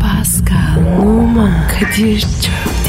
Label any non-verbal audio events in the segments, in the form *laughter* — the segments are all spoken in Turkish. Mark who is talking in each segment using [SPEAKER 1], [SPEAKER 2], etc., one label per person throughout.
[SPEAKER 1] Pascal, Oman, Kadir çok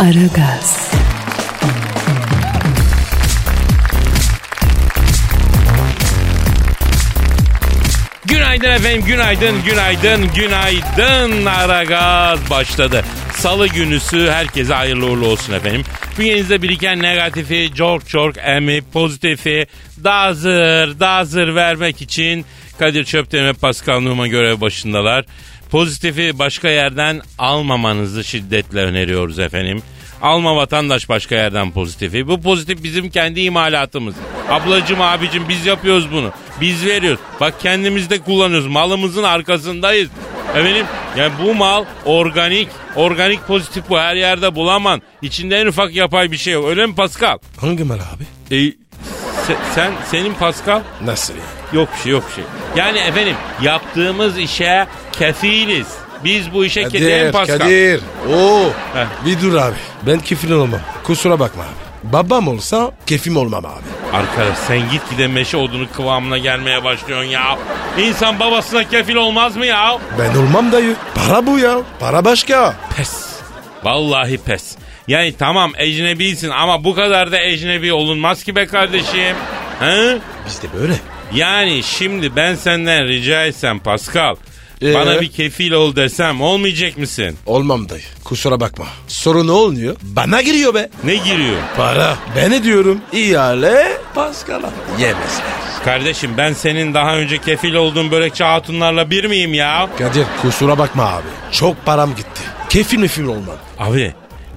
[SPEAKER 1] Aragaz,
[SPEAKER 2] Günaydın efendim, günaydın, günaydın, günaydın. Aragaz başladı. Salı günüsü herkese hayırlı uğurlu olsun efendim. Bünyenizde biriken negatifi, çok çok emip, pozitifi, dazır, dazır vermek için Kadir Çöpten ve Pascal Numa görev başındalar. Pozitifi başka yerden almamanızı şiddetle öneriyoruz efendim. Alma vatandaş başka yerden pozitifi. Bu pozitif bizim kendi imalatımız. Ablacım abicim biz yapıyoruz bunu. Biz veriyoruz. Bak kendimiz de kullanıyoruz. Malımızın arkasındayız. Efendim yani bu mal organik. Organik pozitif bu her yerde bulaman. İçinde en ufak yapay bir şey yok. Öyle mi Pascal?
[SPEAKER 3] Hangi mal abi?
[SPEAKER 2] E, se- sen, senin Pascal?
[SPEAKER 3] Nasıl ya?
[SPEAKER 2] Yok bir şey yok bir şey. Yani efendim yaptığımız işe kefiliz. Biz bu işe kefiliz Pascal.
[SPEAKER 3] Kadir. Oo.
[SPEAKER 2] Heh.
[SPEAKER 3] Bir dur abi. Ben kefil olmam. Kusura bakma abi. Babam olsa kefim olmam abi.
[SPEAKER 2] Arkadaş sen gitgide meşe odunu kıvamına gelmeye başlıyorsun ya. İnsan babasına kefil olmaz mı ya?
[SPEAKER 3] Ben olmam dayı. Para bu ya. Para başka.
[SPEAKER 2] Pes. Vallahi pes. Yani tamam ecnebisin ama bu kadar da ecnebi olunmaz ki be kardeşim. He?
[SPEAKER 3] Bizde böyle.
[SPEAKER 2] Yani şimdi ben senden rica etsem Pascal.
[SPEAKER 3] Ee?
[SPEAKER 2] Bana bir kefil ol desem olmayacak mısın?
[SPEAKER 3] Olmam dayı. Kusura bakma. Sorun olmuyor. Bana giriyor be.
[SPEAKER 2] Ne giriyor?
[SPEAKER 3] Para. Ben ne diyorum? İhale Paskal'a. Yemezler.
[SPEAKER 2] Kardeşim ben senin daha önce kefil olduğun börekçi hatunlarla bir miyim ya?
[SPEAKER 3] Kadir kusura bakma abi. Çok param gitti. Kefil mi film olmam.
[SPEAKER 2] Abi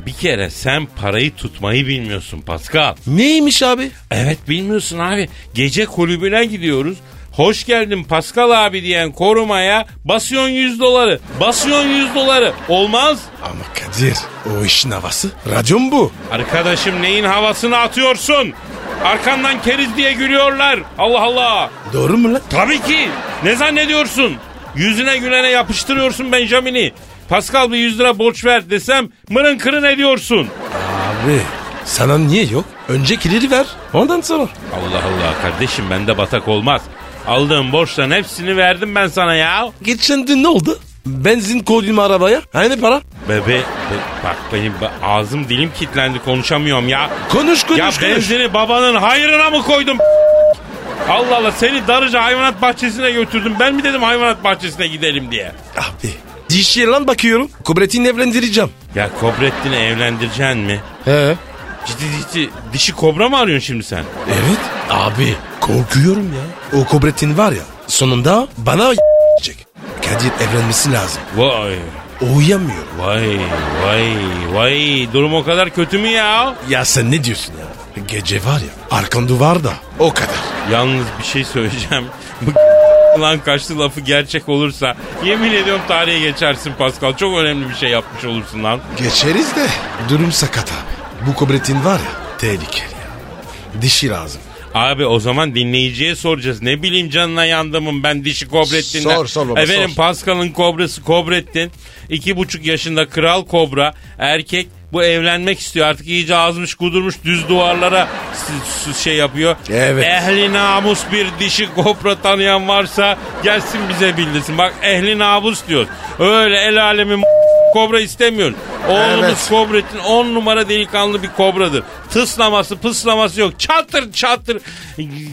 [SPEAKER 2] bir kere sen parayı tutmayı bilmiyorsun Pascal.
[SPEAKER 3] Neymiş abi?
[SPEAKER 2] Evet bilmiyorsun abi. Gece kulübüne gidiyoruz. Hoş geldin Pascal abi diyen korumaya basıyorsun 100 doları. Basıyorsun 100 doları. Olmaz.
[SPEAKER 3] Ama Kadir o işin havası. Racon bu.
[SPEAKER 2] Arkadaşım neyin havasını atıyorsun? Arkandan keriz diye gülüyorlar. Allah Allah.
[SPEAKER 3] Doğru mu lan?
[SPEAKER 2] Tabii ki. Ne zannediyorsun? Yüzüne gülene yapıştırıyorsun Benjamin'i. Pascal bir 100 lira borç ver desem mırın kırın ediyorsun.
[SPEAKER 3] Abi sana niye yok? Önce kilidi ver ondan sonra.
[SPEAKER 2] Allah Allah kardeşim bende batak olmaz. Aldığım borçların hepsini verdim ben sana ya.
[SPEAKER 3] Geçen dün ne oldu? Benzin koydum arabaya. Aynı para.
[SPEAKER 2] Bebe be- bak benim ba- ağzım dilim kilitlendi konuşamıyorum ya.
[SPEAKER 3] Konuş konuş
[SPEAKER 2] ya
[SPEAKER 3] konuş.
[SPEAKER 2] benzini babanın hayrına mı koydum? Allah Allah seni Darıca hayvanat bahçesine götürdüm. Ben mi dedim hayvanat bahçesine gidelim diye?
[SPEAKER 3] Abi dişiye lan bakıyorum. Kubretini evlendireceğim.
[SPEAKER 2] Ya Kobrettin'i evlendireceksin mi?
[SPEAKER 3] He.
[SPEAKER 2] Ciddi ciddi dişi kobra mı arıyorsun şimdi sen?
[SPEAKER 3] Evet. Abi korkuyorum ya. O kubretin var ya sonunda bana yiyecek. Kadir evlenmesi lazım.
[SPEAKER 2] Vay
[SPEAKER 3] O uyamıyor.
[SPEAKER 2] vay vay vay durum o kadar kötü mü ya?
[SPEAKER 3] Ya sen ne diyorsun ya? Gece var ya arkan duvar da o kadar.
[SPEAKER 2] Yalnız bir şey söyleyeceğim. Bu *laughs* lan kaçtı lafı gerçek olursa yemin ediyorum tarihe geçersin Pascal. Çok önemli bir şey yapmış olursun lan.
[SPEAKER 3] Geçeriz de durum sakat abi. Bu kubretin var ya tehlikeli ya. Dişi lazım.
[SPEAKER 2] Abi o zaman dinleyiciye soracağız. Ne bileyim canına yandımın ben dişi Kobrettin'den.
[SPEAKER 3] Sor, sor baba,
[SPEAKER 2] Efendim
[SPEAKER 3] sor.
[SPEAKER 2] Pascal'ın kobrası Kobrettin. iki buçuk yaşında kral kobra. Erkek bu evlenmek istiyor. Artık iyice azmış kudurmuş düz duvarlara s- s- şey yapıyor.
[SPEAKER 3] Evet.
[SPEAKER 2] Ehli namus bir dişi kobra tanıyan varsa gelsin bize bildirsin. Bak ehli namus diyor. Öyle el alemin *laughs* kobra istemiyoruz. Oğlumuz
[SPEAKER 3] Evet.
[SPEAKER 2] Kobrettin 10 numara delikanlı bir kobradır. Tıslaması pıslaması yok. Çatır çatır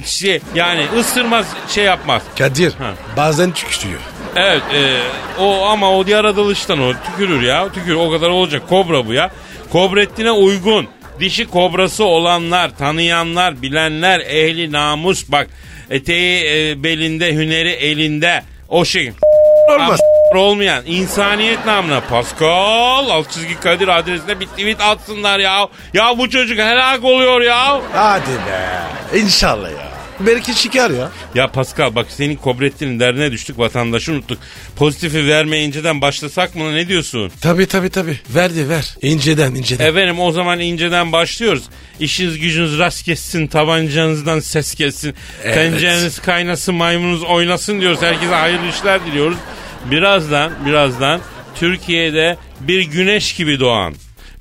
[SPEAKER 2] şey yani ısırmaz şey yapmaz.
[SPEAKER 3] Kadir
[SPEAKER 2] Ha.
[SPEAKER 3] bazen tükürüyor.
[SPEAKER 2] Evet e, o ama o diğer adalıştan o tükürür ya tükür o kadar olacak kobra bu ya. Kobrettin'e uygun dişi kobrası olanlar tanıyanlar bilenler ehli namus bak eteği e, belinde hüneri elinde o şey
[SPEAKER 3] Olmaz.
[SPEAKER 2] Ama olmayan insaniyet namına Pascal alt çizgi Kadir adresine bir tweet atsınlar ya. Ya bu çocuk helak oluyor ya.
[SPEAKER 3] Hadi be. İnşallah ya. belki çıkar ya.
[SPEAKER 2] Ya Pascal bak senin Kobrettin'in derdine düştük vatandaşı unuttuk. Pozitifi vermeye inceden başlasak mı ne diyorsun?
[SPEAKER 3] Tabi tabi tabi. Ver de ver. İnceden inceden.
[SPEAKER 2] Efendim o zaman inceden başlıyoruz. İşiniz gücünüz rast kessin, tabancanızdan ses kessin, tencereniz kaynasın, maymununuz oynasın diyoruz. Herkese hayırlı işler diliyoruz. Birazdan, birazdan Türkiye'de bir güneş gibi doğan,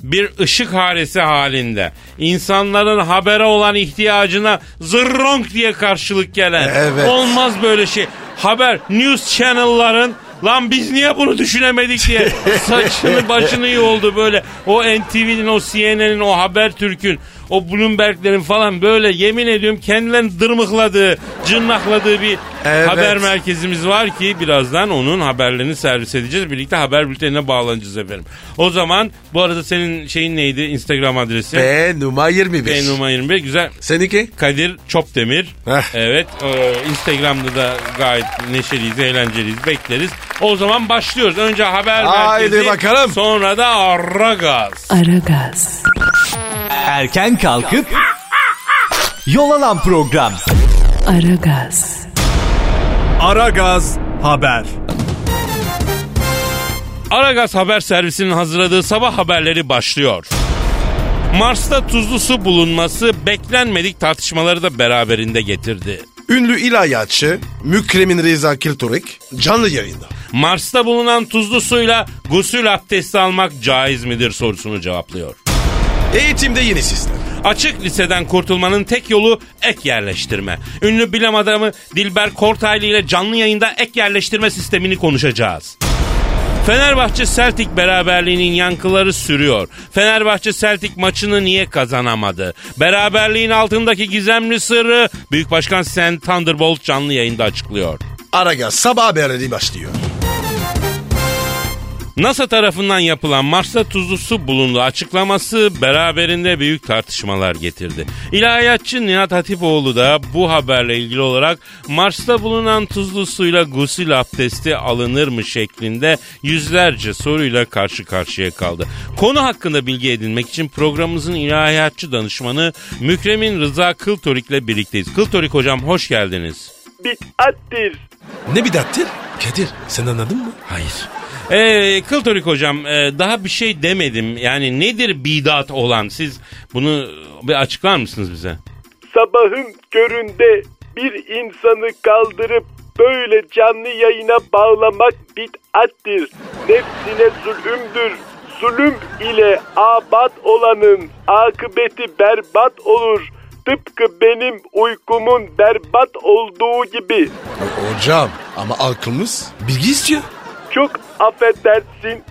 [SPEAKER 2] bir ışık haresi halinde insanların habere olan ihtiyacına zırronk diye karşılık gelen
[SPEAKER 3] Evet.
[SPEAKER 2] olmaz böyle şey haber news channel'ların lan biz niye bunu düşünemedik diye saçını başını yoldu böyle o NTV'nin o CNN'in o Habertürk'ün o Bloomberg'lerin falan böyle yemin ediyorum kendilerini dırmıkladığı, cırnakladığı bir
[SPEAKER 3] Evet.
[SPEAKER 2] haber merkezimiz var ki birazdan onun haberlerini servis edeceğiz. Birlikte haber bültenine bağlanacağız efendim. O zaman bu arada senin şeyin neydi? Instagram adresi?
[SPEAKER 3] P numara 25.
[SPEAKER 2] P numara 25. Güzel.
[SPEAKER 3] Seninki?
[SPEAKER 2] Kadir Çopdemir.
[SPEAKER 3] Heh.
[SPEAKER 2] Evet. e, Instagram'da da gayet neşeliyiz, eğlenceliyiz. Bekleriz. O zaman başlıyoruz. Önce haber
[SPEAKER 3] Haydi
[SPEAKER 2] merkezi.
[SPEAKER 3] bakalım.
[SPEAKER 2] Sonra da ara gaz.
[SPEAKER 1] Aragaz,
[SPEAKER 4] Erken kalkıp yol alan program.
[SPEAKER 1] Aragaz,
[SPEAKER 4] Aragaz haber.
[SPEAKER 2] Aragaz haber servisinin hazırladığı sabah haberleri başlıyor. Mars'ta tuzlu su bulunması beklenmedik tartışmaları da beraberinde getirdi.
[SPEAKER 3] Ünlü ilahiyatçı Mükremin Reza Kiltorik canlı yayında.
[SPEAKER 2] Mars'ta bulunan tuzlu suyla gusül abdesti almak caiz midir sorusunu cevaplıyor.
[SPEAKER 3] Eğitimde yeni sistem.
[SPEAKER 2] Açık liseden kurtulmanın tek yolu ek yerleştirme. Ünlü bilim adamı Dilber Kortaylı ile canlı yayında ek yerleştirme sistemini konuşacağız. Fenerbahçe Celtic beraberliğinin yankıları sürüyor. Fenerbahçe Celtic maçını niye kazanamadı? Beraberliğin altındaki gizemli sırrı Büyük Başkan Sen Thunderbolt canlı yayında açıklıyor.
[SPEAKER 3] Aragaz sabah haberleri başlıyor.
[SPEAKER 2] NASA tarafından yapılan Mars'ta tuzlu su bulundu açıklaması beraberinde büyük tartışmalar getirdi. İlahiyatçı Nihat Hatipoğlu da bu haberle ilgili olarak Mars'ta bulunan tuzlu suyla gusül abdesti alınır mı şeklinde yüzlerce soruyla karşı karşıya kaldı. Konu hakkında bilgi edinmek için programımızın ilahiyatçı danışmanı Mükremin Rıza Kıltorik ile birlikteyiz. Kıltorik hocam hoş geldiniz.
[SPEAKER 5] Bit'attir.
[SPEAKER 3] Ne bidattir? Kadir sen anladın mı?
[SPEAKER 2] Hayır. Ee, Kıltorik hocam e, daha bir şey demedim. Yani nedir bidat olan? Siz bunu bir açıklar mısınız bize?
[SPEAKER 5] Sabahın köründe bir insanı kaldırıp böyle canlı yayına bağlamak bit'attir. Nefsine zulümdür. Zulüm ile abat olanın akıbeti berbat olur. Tıpkı benim uykumun berbat olduğu gibi.
[SPEAKER 3] Hocam ama aklımız bilgi istiyor.
[SPEAKER 5] Çok affedersin.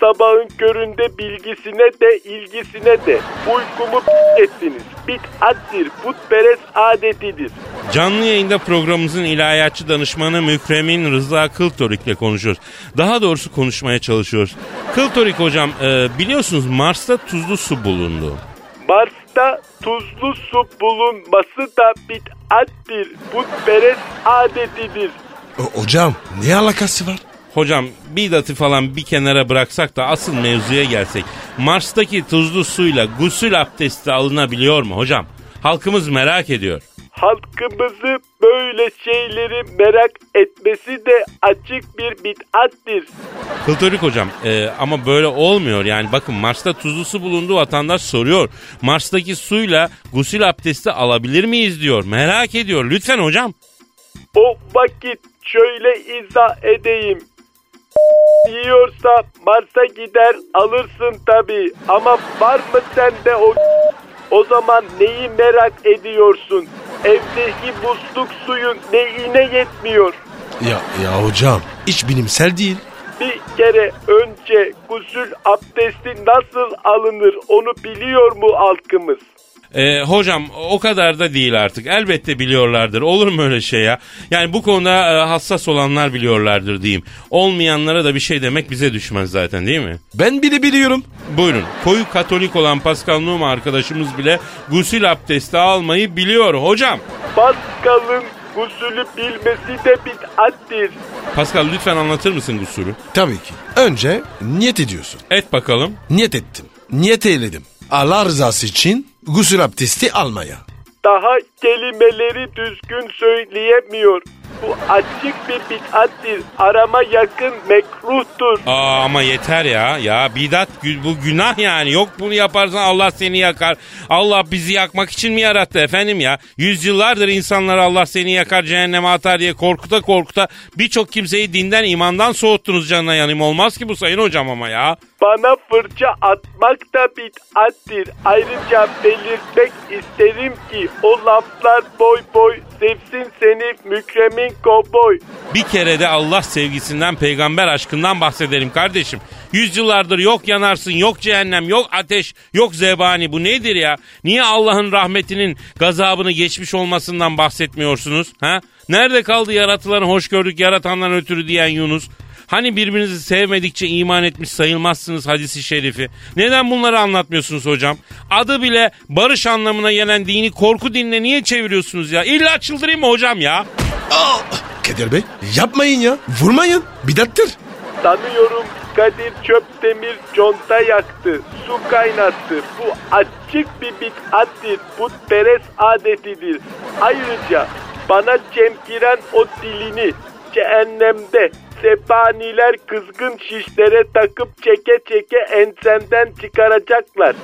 [SPEAKER 5] Sabahın köründe bilgisine de ilgisine de uykumu p- ettiniz. Bit attir, putperest adetidir.
[SPEAKER 2] Canlı yayında programımızın ilahiyatçı danışmanı Mükremin Rıza Kıltorik ile konuşuyoruz. Daha doğrusu konuşmaya çalışıyoruz. Kıltorik hocam e, biliyorsunuz Mars'ta tuzlu su bulundu.
[SPEAKER 5] Mars'ta tuzlu su bulunması da bit attir, putperest adetidir.
[SPEAKER 3] hocam ne alakası var?
[SPEAKER 2] Hocam bidatı falan bir kenara bıraksak da asıl mevzuya gelsek. Mars'taki tuzlu suyla gusül abdesti alınabiliyor mu hocam? Halkımız merak ediyor.
[SPEAKER 5] Halkımızı böyle şeyleri merak etmesi de açık bir bit'attir.
[SPEAKER 2] Kıltorik hocam e, ama böyle olmuyor yani bakın Mars'ta tuzlu su bulundu vatandaş soruyor. Mars'taki suyla gusül abdesti alabilir miyiz diyor merak ediyor lütfen hocam.
[SPEAKER 5] O vakit şöyle izah edeyim. Yiyorsa Mars'a gider alırsın tabi ama var mı sende o O zaman neyi merak ediyorsun? Evdeki musluk suyun neyine yetmiyor?
[SPEAKER 3] Ya, ya hocam hiç bilimsel değil.
[SPEAKER 5] Bir kere önce gusül abdesti nasıl alınır onu biliyor mu halkımız?
[SPEAKER 2] E, hocam o kadar da değil artık elbette biliyorlardır olur mu öyle şey ya? Yani bu konuda e, hassas olanlar biliyorlardır diyeyim. Olmayanlara da bir şey demek bize düşmez zaten değil mi?
[SPEAKER 3] Ben bile biliyorum.
[SPEAKER 2] Buyurun. Koyu Katolik olan Pascal Numa arkadaşımız bile gusül abdesti almayı biliyor hocam.
[SPEAKER 5] Paskal'ın gusülü bilmesi de bit'attir.
[SPEAKER 2] Pascal lütfen anlatır mısın gusülü?
[SPEAKER 3] Tabii ki. Önce niyet ediyorsun.
[SPEAKER 2] Et bakalım.
[SPEAKER 3] Niyet ettim. Niyet eyledim. Allah rızası için gusül abdesti almaya.
[SPEAKER 5] daha kelimeleri düzgün söyleyemiyor. Bu açık bir bid'attir. Arama yakın mekruhtur.
[SPEAKER 2] Aa ama yeter ya. Ya bidat gü- bu günah yani. Yok bunu yaparsan Allah seni yakar. Allah bizi yakmak için mi yarattı efendim ya? Yüzyıllardır insanlar Allah seni yakar cehenneme atar diye korkuta korkuta birçok kimseyi dinden imandan soğuttunuz canına yanayım. Olmaz ki bu sayın hocam ama ya.
[SPEAKER 5] Bana fırça atmak da bid'attir. Ayrıca belirtmek isterim ki o laflar boy boy sevsin seni mükremin kovboy.
[SPEAKER 2] Bir kere de Allah sevgisinden, peygamber aşkından bahsedelim kardeşim. Yüzyıllardır yok yanarsın, yok cehennem, yok ateş, yok zebani. Bu nedir ya? Niye Allah'ın rahmetinin gazabını geçmiş olmasından bahsetmiyorsunuz? Ha? Nerede kaldı yaratılanı hoşgörülük yaratandan ötürü diyen Yunus? Hani birbirinizi sevmedikçe iman etmiş sayılmazsınız hadisi şerifi. Neden bunları anlatmıyorsunuz hocam? Adı bile barış anlamına gelen dini korku dinine niye çeviriyorsunuz ya? İlla çıldırayım mı hocam ya?
[SPEAKER 3] Aa! Kadir Bey yapmayın ya. Vurmayın. Bidattir.
[SPEAKER 5] Sanıyorum Kadir Çöptemir conta yaktı, su kaynattı. Bu açık bir bid'attir, putperest adetidir. Ayrıca bana çemkiren o dilini cehennemde sepaniler kızgın şişlere takıp çeke çeke ensemden çıkaracaklar.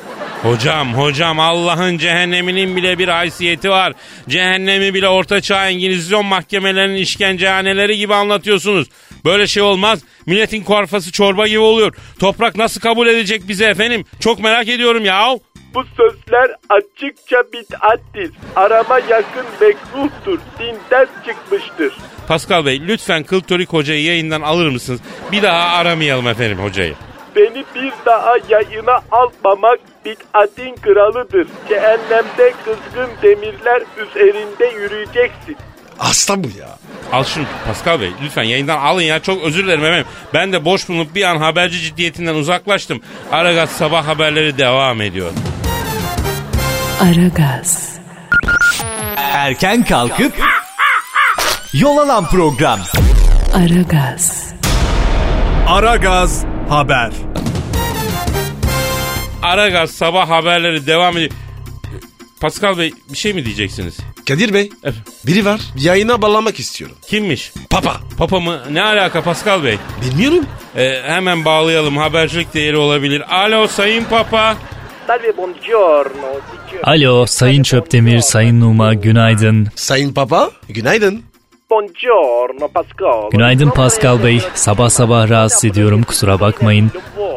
[SPEAKER 2] Hocam hocam Allah'ın cehenneminin bile bir haysiyeti var. Cehennemi bile ortaçağ İngilizyon mahkemelerinin işkencehaneleri gibi anlatıyorsunuz. Böyle şey olmaz. Milletin korfası çorba gibi oluyor. Toprak nasıl kabul edecek bizi efendim? Çok merak ediyorum ya.
[SPEAKER 5] Bu sözler açıkça bid'attir. Arama yakın mekruhtur, dinden çıkmıştır.
[SPEAKER 2] Pascal Bey lütfen Kıltorik Hoca'yı yayından alır mısınız? Bir daha aramayalım efendim hocayı.
[SPEAKER 5] Beni bir daha yayına almamak bid'atin kralıdır. Cehennemde kızgın demirler üzerinde yürüyeceksin.
[SPEAKER 3] Aslan bu ya.
[SPEAKER 2] Al şunu Pascal Bey lütfen yayından alın ya çok özür dilerim efendim. Ben de boş bulunup bir an haberci ciddiyetinden uzaklaştım. Aragaz sabah haberleri devam ediyor.
[SPEAKER 1] Aragaz,
[SPEAKER 4] Erken kalkıp yol alan program.
[SPEAKER 1] Aragaz,
[SPEAKER 4] Aragaz haber.
[SPEAKER 2] Aragaz sabah haberleri devam ediyor. Pascal Bey bir şey mi diyeceksiniz?
[SPEAKER 3] Kadir Bey.
[SPEAKER 2] Efendim?
[SPEAKER 3] Biri var. Yayına bağlamak istiyorum.
[SPEAKER 2] Kimmiş?
[SPEAKER 3] Papa.
[SPEAKER 2] Papa mı? Ne alaka Pascal Bey?
[SPEAKER 3] Bilmiyorum.
[SPEAKER 2] Ee, hemen bağlayalım habercilik değeri olabilir. Alo Sayın Papa.
[SPEAKER 5] Salve buongiorno.
[SPEAKER 6] Alo Sayın Çöptemir, Sayın Numa günaydın.
[SPEAKER 3] Sayın Papa. Günaydın.
[SPEAKER 5] Buongiorno Pascal.
[SPEAKER 6] Günaydın Pascal Bey. Sabah sabah rahatsız ediyorum kusura bakmayın.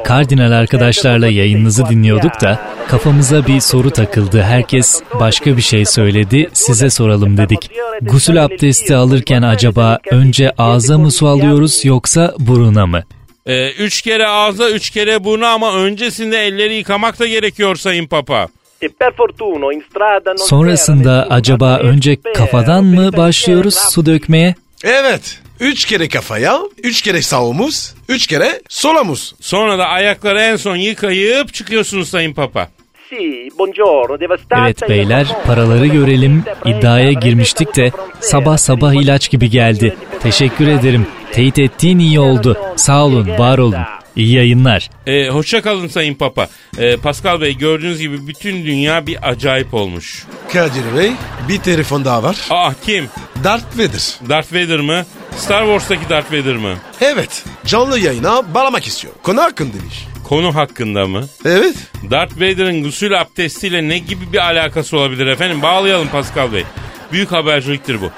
[SPEAKER 6] Kardinal arkadaşlarla yayınınızı dinliyorduk da kafamıza bir soru takıldı. Herkes başka bir şey söyledi. Size soralım dedik. Gusül abdesti alırken acaba önce ağza mı su alıyoruz yoksa buruna mı?
[SPEAKER 2] Ee, üç kere ağza üç kere burnu ama öncesinde elleri yıkamak da gerekiyor Sayın Papa.
[SPEAKER 5] E per fortuna in strada non
[SPEAKER 6] Sonrasında
[SPEAKER 5] c'era
[SPEAKER 6] acaba
[SPEAKER 5] nessuno.
[SPEAKER 6] önce
[SPEAKER 5] Per-
[SPEAKER 6] kafadan mı
[SPEAKER 5] per-
[SPEAKER 6] başlıyoruz su dökmeye?
[SPEAKER 3] Evet. Üç kere kafaya, üç kere sağ omuz, üç kere sol omuz.
[SPEAKER 2] Sonra da ayakları en son yıkayıp çıkıyorsunuz Sayın Papa.
[SPEAKER 5] Sì, buongiorno, devastata
[SPEAKER 6] Evet
[SPEAKER 5] e
[SPEAKER 6] beyler
[SPEAKER 5] profonda.
[SPEAKER 6] paraları görelim iddiaya girmiştik de sabah sabah ilaç gibi geldi. Teşekkür ederim. Teyit ettiğin iyi oldu. Sağ olun, var olun. İyi yayınlar.
[SPEAKER 2] Ee, hoşça kalın Sayın Papa. Ee, Pascal Bey gördüğünüz gibi bütün dünya bir acayip olmuş.
[SPEAKER 3] Kadir Bey bir telefon daha var.
[SPEAKER 2] Ah kim?
[SPEAKER 3] Darth Vader.
[SPEAKER 2] Darth Vader mı? Star Wars'taki Darth Vader mı?
[SPEAKER 3] Evet. Canlı yayına bağlamak istiyor. Konu hakkında demiş.
[SPEAKER 2] Konu hakkında mı?
[SPEAKER 3] Evet.
[SPEAKER 2] Darth Vader'ın gusül abdestiyle ne gibi bir alakası olabilir efendim? Bağlayalım Pascal Bey. Büyük haberciliktir bu.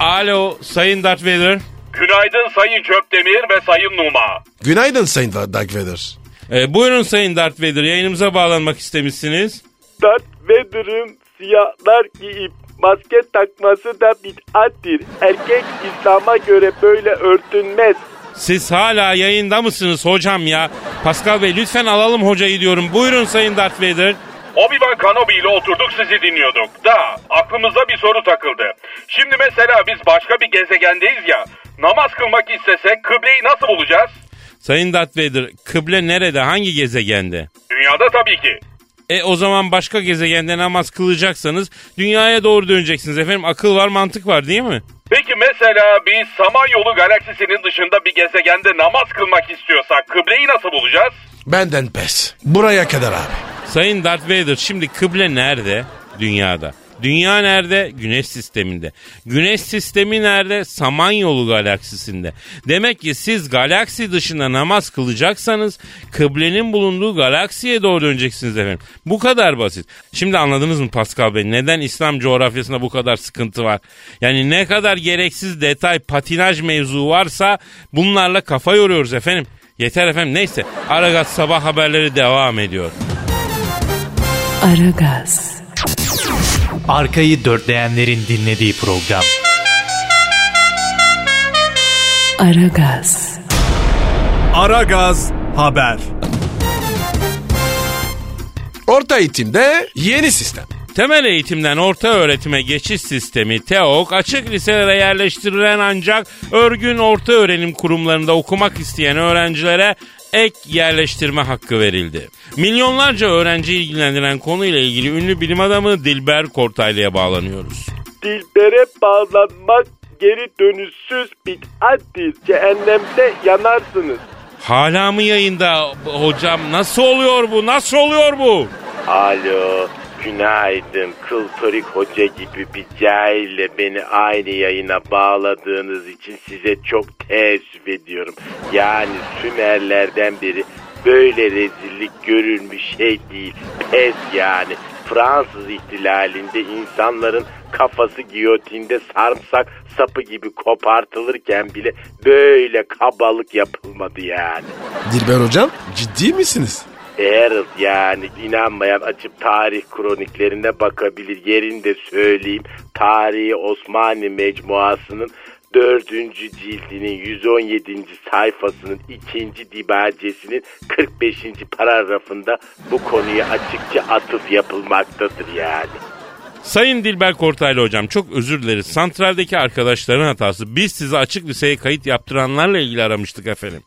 [SPEAKER 2] Alo Sayın Darth Vader.
[SPEAKER 7] Günaydın Sayın Çöptemir ve Sayın Numa.
[SPEAKER 3] Günaydın Sayın Darth Vader.
[SPEAKER 2] Ee, buyurun Sayın Darth Vader yayınımıza bağlanmak istemişsiniz.
[SPEAKER 5] Darth Vader'ın siyahlar giyip maske takması da bid'attir. Erkek İslam'a göre böyle örtünmez.
[SPEAKER 2] Siz hala yayında mısınız hocam ya? Pascal Bey lütfen alalım hocayı diyorum. Buyurun Sayın Darth Vader.
[SPEAKER 7] Obi-Wan Kenobi ile oturduk sizi dinliyorduk. Da aklımıza bir soru takıldı. Şimdi mesela biz başka bir gezegendeyiz ya. Namaz kılmak istesek kıbleyi nasıl bulacağız?
[SPEAKER 2] Sayın Darth Vader kıble nerede? Hangi gezegende?
[SPEAKER 7] Dünyada tabii ki.
[SPEAKER 2] E o zaman başka gezegende namaz kılacaksanız dünyaya doğru döneceksiniz efendim. Akıl var mantık var değil mi?
[SPEAKER 7] Peki mesela biz Samanyolu galaksisinin dışında bir gezegende namaz kılmak istiyorsak kıbleyi nasıl bulacağız?
[SPEAKER 3] Benden pes. Buraya kadar abi.
[SPEAKER 2] Sayın Darth Vader şimdi kıble nerede dünyada? Dünya nerede? Güneş sisteminde. Güneş sistemi nerede? Samanyolu galaksisinde. Demek ki siz galaksi dışında namaz kılacaksanız kıblenin bulunduğu galaksiye doğru döneceksiniz efendim. Bu kadar basit. Şimdi anladınız mı Pascal Bey? Neden İslam coğrafyasında bu kadar sıkıntı var? Yani ne kadar gereksiz detay, patinaj mevzu varsa bunlarla kafa yoruyoruz efendim. Yeter efendim neyse. Aragaz sabah haberleri devam ediyor.
[SPEAKER 1] Aragaz,
[SPEAKER 4] Arkayı dörtleyenlerin dinlediği program.
[SPEAKER 1] Aragaz,
[SPEAKER 4] Aragaz Haber.
[SPEAKER 3] Orta eğitimde yeni sistem.
[SPEAKER 2] Temel eğitimden orta öğretime geçiş sistemi TEOK açık liselere yerleştirilen ancak örgün orta öğrenim kurumlarında okumak isteyen öğrencilere ek yerleştirme hakkı verildi. Milyonlarca öğrenci ilgilendiren konuyla ilgili ünlü bilim adamı Dilber Kortaylı'ya bağlanıyoruz.
[SPEAKER 5] Dilbere bağlanmak geri dönüşsüz bid'attir. Cehennemde yanarsınız.
[SPEAKER 2] Hala mı yayında hocam? Nasıl oluyor bu? Nasıl oluyor bu?
[SPEAKER 5] Alo, günaydın. Kıltorik Hoca gibi bir cahille beni aynı yayına bağladığınız için size çok teessüf ediyorum. Yani Sümerlerden beri böyle rezillik görülmüş şey değil. Pes yani. Fransız ihtilalinde insanların kafası giyotinde sarımsak sapı gibi kopartılırken bile böyle kabalık yapılmadı yani.
[SPEAKER 3] Dilber hocam ciddi misiniz?
[SPEAKER 5] Harold yani inanmayan açıp tarih kroniklerine bakabilir. Yerini de söyleyeyim. Tarihi Osmanlı Mecmuası'nın 4. cildinin 117. sayfasının 2. dibacesinin 45. paragrafında bu konuya açıkça atıf yapılmaktadır yani.
[SPEAKER 2] Sayın Dilber Kortaylı hocam çok özür dileriz. Santraldeki arkadaşların hatası. Biz sizi açık liseye kayıt yaptıranlarla ilgili aramıştık efendim.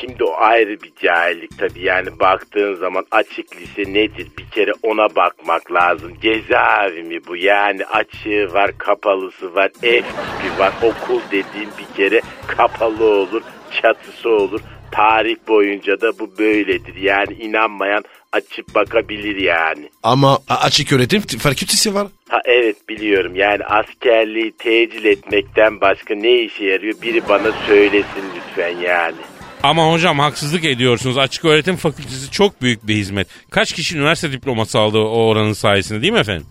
[SPEAKER 5] Şimdi o ayrı bir cahillik tabii yani baktığın zaman açık lise nedir bir kere ona bakmak lazım. Cezaevi mi bu yani açığı var kapalısı var ev tipi var okul dediğin bir kere kapalı olur çatısı olur. Tarih boyunca da bu böyledir yani inanmayan açıp bakabilir yani.
[SPEAKER 3] Ama a- açık öğretim t- fakültesi var.
[SPEAKER 5] Ha evet biliyorum yani askerliği tecil etmekten başka ne işe yarıyor biri bana söylesin lütfen yani.
[SPEAKER 2] Ama hocam haksızlık ediyorsunuz. Açık öğretim fakültesi çok büyük bir hizmet. Kaç kişi üniversite diploması aldı o oranın sayesinde değil mi efendim?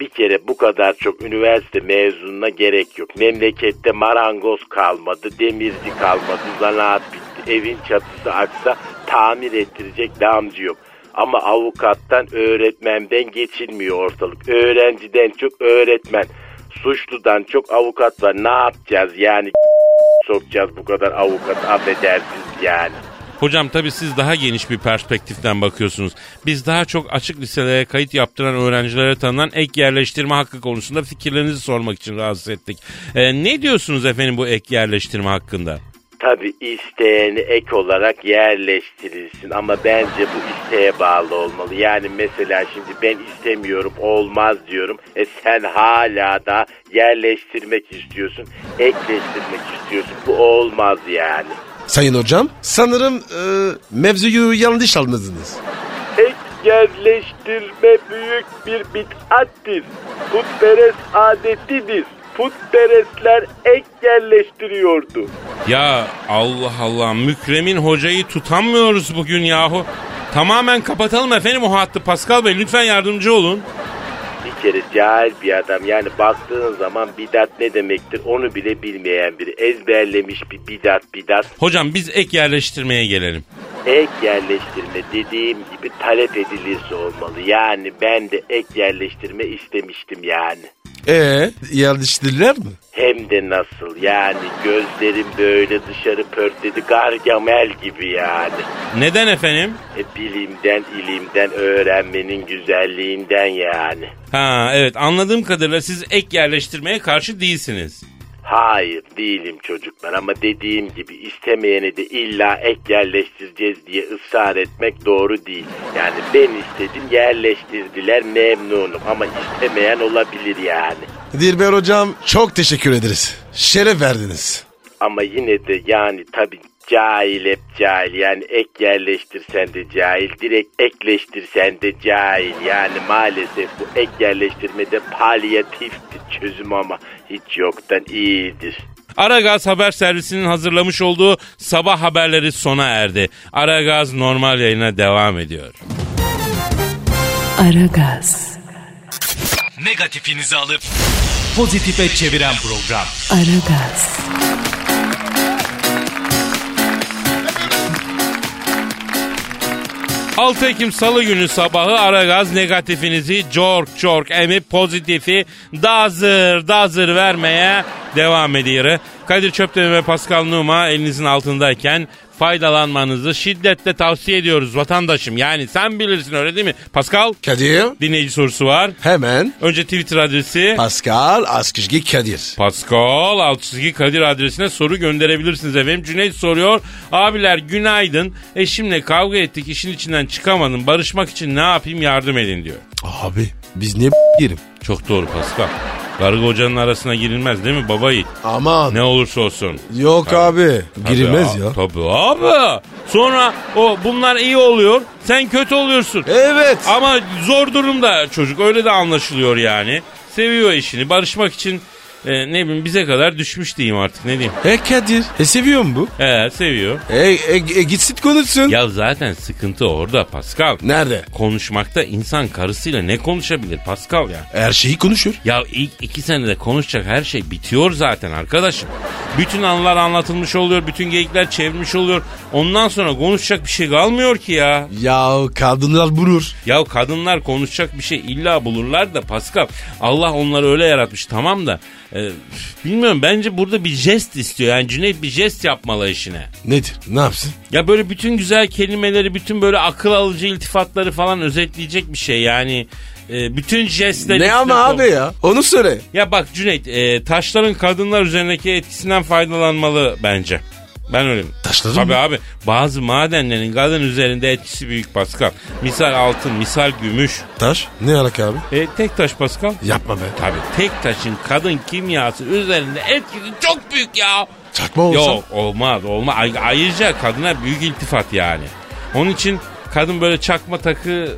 [SPEAKER 5] Bir kere bu kadar çok üniversite mezununa gerek yok. Memlekette marangoz kalmadı, demirci kalmadı, zanaat bitti. Evin çatısı aksa tamir ettirecek damcı yok. Ama avukattan, öğretmenden geçilmiyor ortalık. Öğrenciden çok öğretmen, suçludan çok avukat var. Ne yapacağız yani? *laughs* Sokacağız bu kadar avukat affedersiniz yani.
[SPEAKER 2] Hocam tabii siz daha geniş bir perspektiften bakıyorsunuz. Biz daha çok açık liselere kayıt yaptıran öğrencilere tanınan ek yerleştirme hakkı konusunda fikirlerinizi sormak için rahatsız ettik. Ee, ne diyorsunuz efendim bu ek yerleştirme hakkında?
[SPEAKER 5] Tabi isteğini ek olarak yerleştirilsin ama bence bu isteğe bağlı olmalı. Yani mesela şimdi ben istemiyorum olmaz diyorum. E sen hala da yerleştirmek istiyorsun, ekleştirmek istiyorsun. Bu olmaz yani.
[SPEAKER 3] Sayın hocam sanırım e, mevzuyu yanlış anladınız.
[SPEAKER 5] Ek yerleştirme büyük bir bid'attir. Putperest adetidir. Putperestler ek yerleştiriyordu.
[SPEAKER 2] Ya Allah Allah mükremin hocayı tutamıyoruz bugün yahu. Tamamen kapatalım efendim o hattı Pascal Bey lütfen yardımcı olun.
[SPEAKER 5] Bir kere cahil bir adam yani baktığın zaman bidat ne demektir onu bile bilmeyen biri. Ezberlemiş bir bidat bidat.
[SPEAKER 2] Hocam biz ek yerleştirmeye gelelim.
[SPEAKER 5] Ek yerleştirme dediğim gibi talep edilirse olmalı. Yani ben de ek yerleştirme istemiştim yani.
[SPEAKER 3] Ee yerleştirirler mi?
[SPEAKER 5] Hem de nasıl yani gözlerim böyle dışarı pörtledi gargamel gibi yani.
[SPEAKER 2] Neden efendim?
[SPEAKER 5] E, bilimden ilimden öğrenmenin güzelliğinden yani.
[SPEAKER 2] Ha evet anladığım kadarıyla siz ek yerleştirmeye karşı değilsiniz.
[SPEAKER 5] Hayır değilim çocuklar ama dediğim gibi istemeyeni de illa ek yerleştireceğiz diye ısrar etmek doğru değil. Yani ben istedim yerleştirdiler memnunum ama istemeyen olabilir yani.
[SPEAKER 3] Dilber hocam çok teşekkür ederiz. Şeref verdiniz.
[SPEAKER 5] Ama yine de yani tabii cahil hep cahil yani ek yerleştirsen de cahil direkt ekleştirsen de cahil yani maalesef bu ek yerleştirmede palyatifti çözüm ama hiç yoktan iyidir.
[SPEAKER 2] Aragaz Haber Servisi'nin hazırlamış olduğu sabah haberleri sona erdi. Aragaz normal yayına devam ediyor.
[SPEAKER 1] Aragaz,
[SPEAKER 4] Negatifinizi alıp pozitife çeviren program.
[SPEAKER 1] Aragaz,
[SPEAKER 2] Altı 6 Ekim Salı günü sabahı Aragaz negatifinizi cork cork emip pozitifi dazır dazır vermeye devam ediyor. Kadir Çöpten ve Pascal Numa elinizin altındayken faydalanmanızı şiddetle tavsiye ediyoruz vatandaşım. Yani sen bilirsin öyle değil mi? Pascal
[SPEAKER 3] Kadir.
[SPEAKER 2] dinleyici sorusu var.
[SPEAKER 3] Hemen.
[SPEAKER 2] Önce Twitter adresi
[SPEAKER 3] Pascal Askışgi Kadir.
[SPEAKER 2] Pascal alt çizgi Kadir adresine soru gönderebilirsiniz efendim. Cüneyt soruyor. Abiler günaydın. Eşimle kavga ettik. işin içinden çıkamadım. Barışmak için ne yapayım yardım edin diyor.
[SPEAKER 3] Abi biz niye girim?
[SPEAKER 2] Çok doğru Pascal. Karı kocanın arasına girilmez değil mi baba yiğit?
[SPEAKER 3] Aman.
[SPEAKER 2] Ne olursa olsun.
[SPEAKER 3] Yok abi.
[SPEAKER 2] Tabii
[SPEAKER 3] Girilmez
[SPEAKER 2] a-
[SPEAKER 3] ya.
[SPEAKER 2] Tabii abi. Sonra o bunlar iyi oluyor. Sen kötü oluyorsun.
[SPEAKER 3] Evet.
[SPEAKER 2] Ama zor durumda çocuk öyle de anlaşılıyor yani. Seviyor işini. Barışmak için e, ne bileyim bize kadar düşmüş diyeyim artık ne diyeyim.
[SPEAKER 3] E Kadir. E seviyor mu bu?
[SPEAKER 2] He seviyor.
[SPEAKER 3] E, e, e gitsin *laughs* konuşsun.
[SPEAKER 2] Ya zaten sıkıntı orada Pascal.
[SPEAKER 3] Nerede?
[SPEAKER 2] Konuşmakta insan karısıyla ne konuşabilir Pascal ya?
[SPEAKER 3] Her şeyi konuşur.
[SPEAKER 2] Ya ilk iki senede konuşacak her şey bitiyor zaten arkadaşım. Bütün anılar anlatılmış oluyor, bütün geyikler çevirmiş oluyor. Ondan sonra konuşacak bir şey kalmıyor ki ya.
[SPEAKER 3] Ya kadınlar bulur.
[SPEAKER 2] Ya kadınlar konuşacak bir şey illa bulurlar da Pascal. Allah onları öyle yaratmış tamam da. e, bilmiyorum bence burada bir jest istiyor. Yani Cüneyt bir jest yapmalı işine.
[SPEAKER 3] Nedir? Ne yapsın?
[SPEAKER 2] Ya böyle bütün güzel kelimeleri, bütün böyle akıl alıcı iltifatları falan özetleyecek bir şey yani. e, bütün jestleri...
[SPEAKER 3] ne ama abi ya? Onu söyle.
[SPEAKER 2] Ya bak Cüneyt, e, taşların kadınlar üzerindeki etkisinden faydalanmalı bence. Ben öyle
[SPEAKER 3] Taşların
[SPEAKER 2] Tabii
[SPEAKER 3] mı?
[SPEAKER 2] abi bazı madenlerin kadın üzerinde etkisi büyük Pascal. Misal altın, misal gümüş.
[SPEAKER 3] Taş. Ne alaka abi?
[SPEAKER 2] E, tek taş Pascal.
[SPEAKER 3] Yapma be.
[SPEAKER 2] Tabii tek taşın kadın kimyası üzerinde etkisi çok büyük ya.
[SPEAKER 3] Çakma olsa.
[SPEAKER 2] Yok olmaz olmaz. Ay- ayrıca kadına büyük iltifat yani. Onun için kadın böyle çakma takı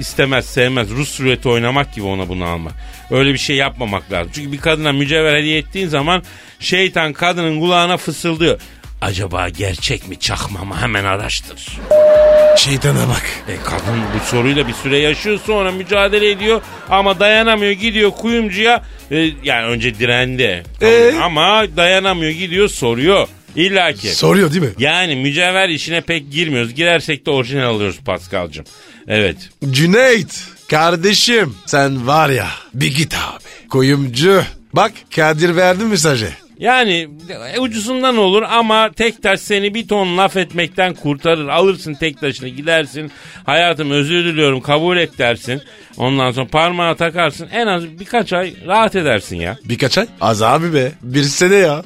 [SPEAKER 2] istemez sevmez. Rus ruleti oynamak gibi ona bunu almak. Öyle bir şey yapmamak lazım. Çünkü bir kadına mücevher hediye ettiğin zaman şeytan kadının kulağına fısıldıyor. Acaba gerçek mi çakma mı hemen araştır.
[SPEAKER 3] Şeytana bak.
[SPEAKER 2] E kadın bu soruyla bir süre yaşıyor sonra mücadele ediyor ama dayanamıyor gidiyor kuyumcuya E, yani önce direndi
[SPEAKER 3] Ee?
[SPEAKER 2] ama dayanamıyor gidiyor soruyor İlla ki.
[SPEAKER 3] Soruyor değil mi?
[SPEAKER 2] yani mücevher işine pek girmiyoruz. Girersek de orijinal alıyoruz Paskal'cığım. Evet.
[SPEAKER 3] Cüneyt. Kardeşim sen var ya bir git abi. Koyumcu. Bak Kadir verdi mesajı.
[SPEAKER 2] Yani e, ucuzundan olur ama tek taş seni bir ton laf etmekten kurtarır. Alırsın tek taşını gidersin. Hayatım özür diliyorum kabul et dersin. Ondan sonra parmağa takarsın. En az birkaç ay rahat edersin ya.
[SPEAKER 3] Birkaç ay? Az abi be. Bir sene ya.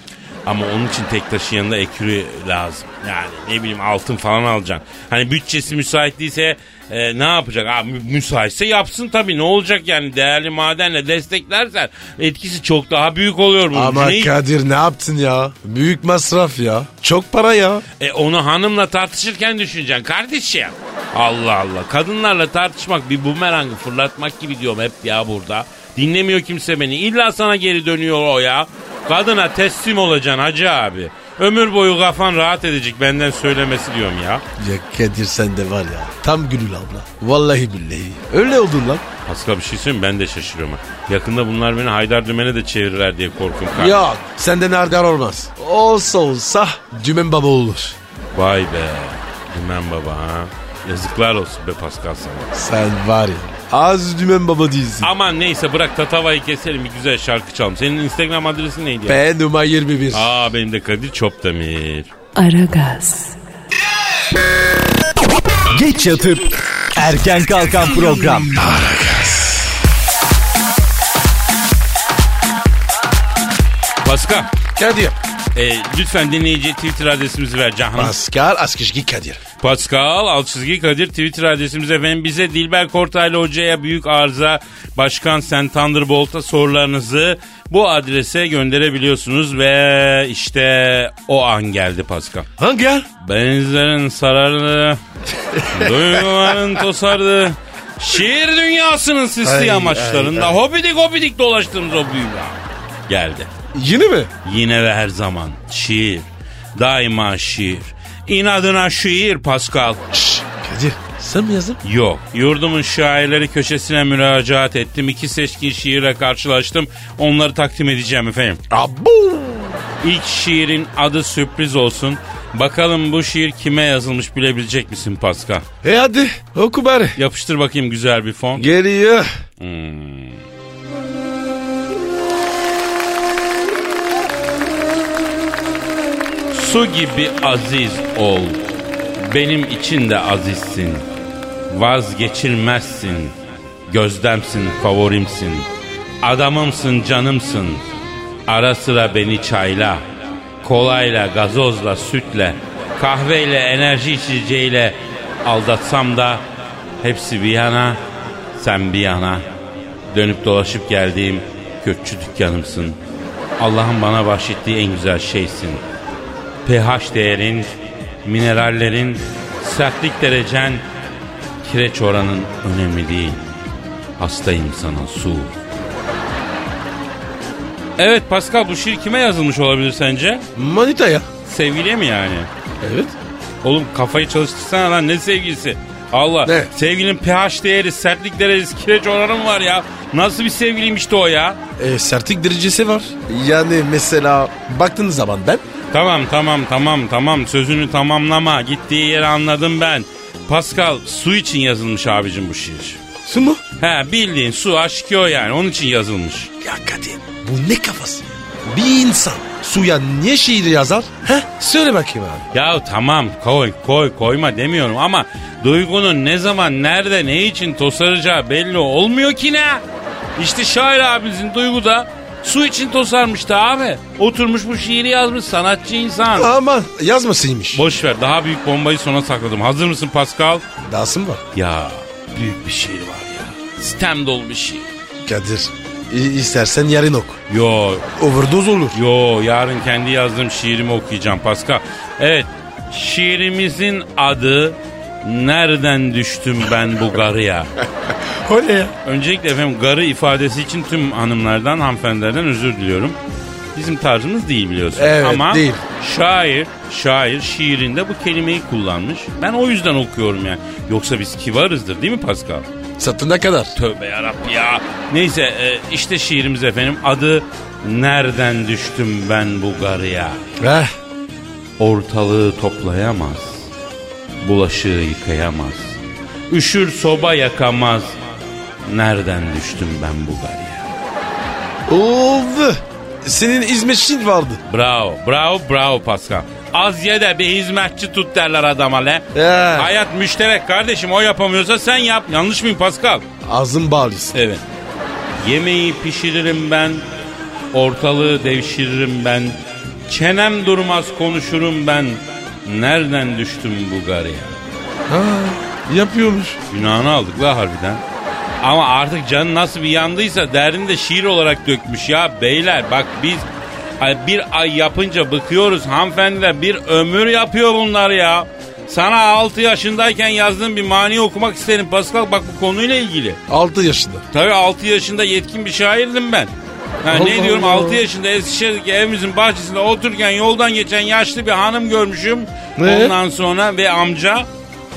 [SPEAKER 2] Ama onun için tek taşın yanında ekürü lazım. Yani ne bileyim altın falan alacaksın. Hani bütçesi müsait değilse e, ne yapacak? Abi müsaitse yapsın tabii ne olacak yani değerli madenle desteklersen etkisi çok daha büyük oluyor bunun.
[SPEAKER 3] Ama
[SPEAKER 2] Cüneyt.
[SPEAKER 3] Kadir ne yaptın ya? Büyük masraf ya. Çok para ya.
[SPEAKER 2] E onu hanımla tartışırken düşüneceksin kardeşim. Allah Allah. Kadınlarla tartışmak bir bumerangı fırlatmak gibi diyorum hep ya burada. Dinlemiyor kimse beni. İlla sana geri dönüyor o ya. Kadına teslim olacaksın hacı abi. Ömür boyu kafan rahat edecek benden söylemesi diyorum ya.
[SPEAKER 3] Ya Kadir sen de var ya. Tam Gülül abla. Vallahi billahi. Öyle oldun lan.
[SPEAKER 2] Pascal bir şey söyleyeyim mi? ben de şaşırıyorum. ha. Yakında bunlar beni Haydar Dümen'e de çevirirler diye korkum. kardeşim.
[SPEAKER 3] Ya senden nereden olmaz. Olsa olsa dümen baba olur.
[SPEAKER 2] Vay be. Dümen baba ha. Yazıklar olsun be Pascal sana.
[SPEAKER 3] Sen var ya. Az dümen baba değilsin.
[SPEAKER 2] Aman neyse bırak tatavayı keselim bir güzel şarkı çalalım. Senin Instagram adresin neydi ya?
[SPEAKER 3] P numara 21.
[SPEAKER 2] Aa benim de Kadir Çopdemir.
[SPEAKER 1] Aragaz,
[SPEAKER 4] Geç yatıp erken kalkan program.
[SPEAKER 2] Pascal
[SPEAKER 3] Kadir.
[SPEAKER 2] e, lütfen dinleyiciye Twitter adresimizi ver Cahan.
[SPEAKER 3] Pascal Askışgi Kadir.
[SPEAKER 2] Pascal alt çizgi Kadir Twitter adresimiz efendim. Bize Dilber Kortaylı Hoca'ya büyük arıza Başkan Sen Thunderbolt'a sorularınızı bu adrese gönderebiliyorsunuz ve işte o an geldi Pascal.
[SPEAKER 3] Hangi yer? *laughs*
[SPEAKER 2] Benizlerin sarardı, duyguların tosardı. Şiir dünyasının sisli
[SPEAKER 3] Ay,
[SPEAKER 2] yamaçlarında
[SPEAKER 3] ay, ay.
[SPEAKER 2] hobidik hobidik dolaştığımız o büyüla. Geldi.
[SPEAKER 3] Yeni mi?
[SPEAKER 2] Yine ve her zaman şiir. Daima şiir. İnadına şiir Pascal.
[SPEAKER 3] Şşş Kadir sen mi yazdın?
[SPEAKER 2] Yok. Yurdumun şairleri köşesine müracaat ettim. İki seçkin şiirle karşılaştım. Onları takdim edeceğim efendim.
[SPEAKER 3] Abu.
[SPEAKER 2] İlk şiirin adı sürpriz olsun. Bakalım bu şiir kime yazılmış bilebilecek misin Pascal?
[SPEAKER 3] E hadi oku bari.
[SPEAKER 2] Yapıştır bakayım güzel bir fon.
[SPEAKER 3] Geliyor.
[SPEAKER 2] Su gibi aziz ol. Benim için de azizsin. Vazgeçilmezsin. Gözdemsin, favorimsin. Adamımsın, canımsın. Ara sıra beni çayla, kolayla, gazozla, sütle, kahveyle, enerji içeceğiyle aldatsam da hepsi bir yana, sen bir yana. Dönüp dolaşıp geldiğim kökçü dükkanımsın. Allah'ın bana bahşettiği en güzel şeysin pH değerin, minerallerin, sertlik derecen, kireç oranın önemli değil. Hastayım sana su. Evet Pascal bu şiir kime yazılmış olabilir sence?
[SPEAKER 3] Manita ya.
[SPEAKER 2] Sevgiliye mi yani?
[SPEAKER 3] Evet.
[SPEAKER 2] Oğlum kafayı çalıştırsana lan ne sevgilisi? Allah
[SPEAKER 3] Ne?
[SPEAKER 2] sevgilinin pH değeri, sertlik derecesi, kireç oranı mı var ya? Nasıl bir sevgiliymişti o ya?
[SPEAKER 3] E, sertlik derecesi var. Yani mesela baktığın zaman ben
[SPEAKER 2] Tamam tamam tamam tamam sözünü tamamlama gittiği yeri anladım ben. Pascal su için yazılmış abicim bu şiir.
[SPEAKER 3] su mu?
[SPEAKER 2] He bildiğin su aşk o yani onun için yazılmış.
[SPEAKER 3] Ya Kadir bu ne kafası? Bir insan suya niye şiir yazar? He? Söyle bakayım abi.
[SPEAKER 2] Ya tamam koy koy koyma demiyorum ama duygunun ne zaman nerede ne için tosaracağı belli olmuyor ki ne? İşte şair abimizin duygu da su için tosarmıştı abi. Oturmuş bu şiiri yazmış sanatçı insan.
[SPEAKER 3] Aman yazmasıymış.
[SPEAKER 2] Boş ver daha büyük bombayı sona sakladım. Hazır mısın Pascal?
[SPEAKER 3] Dasım var.
[SPEAKER 2] Ya büyük bir şiir var ya. Sistem dolu bir şiir.
[SPEAKER 3] Kadir i- istersen yarın oku.
[SPEAKER 2] Yo
[SPEAKER 3] Overdose olur.
[SPEAKER 2] yo yarın kendi yazdığım şiirimi okuyacağım Pascal. Evet şiirimizin adı Nereden düştüm ben bu
[SPEAKER 3] *laughs*
[SPEAKER 2] garıya?
[SPEAKER 3] O ne ya?
[SPEAKER 2] Öncelikle efendim garı ifadesi için tüm hanımlardan, hanımefendilerden özür diliyorum. Bizim tarzımız değil biliyorsunuz.
[SPEAKER 3] Evet,
[SPEAKER 2] Ama
[SPEAKER 3] değil.
[SPEAKER 2] şair, şair şiirinde bu kelimeyi kullanmış. Ben o yüzden okuyorum yani. Yoksa biz kibarızdır değil mi Pascal?
[SPEAKER 3] Satına kadar.
[SPEAKER 2] Tövbe yarabbi ya. Neyse e, işte şiirimiz efendim. Adı Nereden Düştüm Ben Bu Garıya.
[SPEAKER 3] Heh.
[SPEAKER 2] Ortalığı toplayamaz. Bulaşığı yıkayamaz. Üşür soba yakamaz. Nereden düştüm ben bu garıya?
[SPEAKER 3] Ov. Senin hizmetçin vardı.
[SPEAKER 2] Bravo, bravo, bravo Pascal. Az ye de bir hizmetçi tut derler adama le.
[SPEAKER 3] He.
[SPEAKER 2] Hayat müşterek kardeşim o yapamıyorsa sen yap. Yanlış mıyım Pascal?
[SPEAKER 3] Ağzın bağlısın.
[SPEAKER 2] Evet. Yemeği pişiririm ben, ortalığı devşiririm ben, çenem durmaz konuşurum ben. Nereden düştüm bu garıya?
[SPEAKER 3] Ha, yapıyormuş.
[SPEAKER 2] Günahını aldık la harbiden. Ama artık canı nasıl bir yandıysa derdini de şiir olarak dökmüş ya beyler. Bak biz ay, bir ay yapınca bıkıyoruz hanımefendiler bir ömür yapıyor bunlar ya. Sana 6 yaşındayken yazdığım bir mani okumak isterim Pascal bak bu konuyla ilgili.
[SPEAKER 3] 6 yaşında.
[SPEAKER 2] Tabii 6 yaşında yetkin bir şairdim ben. Ha,
[SPEAKER 3] Allah
[SPEAKER 2] ne diyorum
[SPEAKER 3] Allah.
[SPEAKER 2] 6 yaşında Eskişehir'deki evimizin bahçesinde otururken yoldan geçen yaşlı bir hanım görmüşüm.
[SPEAKER 3] Ne?
[SPEAKER 2] Ondan sonra ve amca.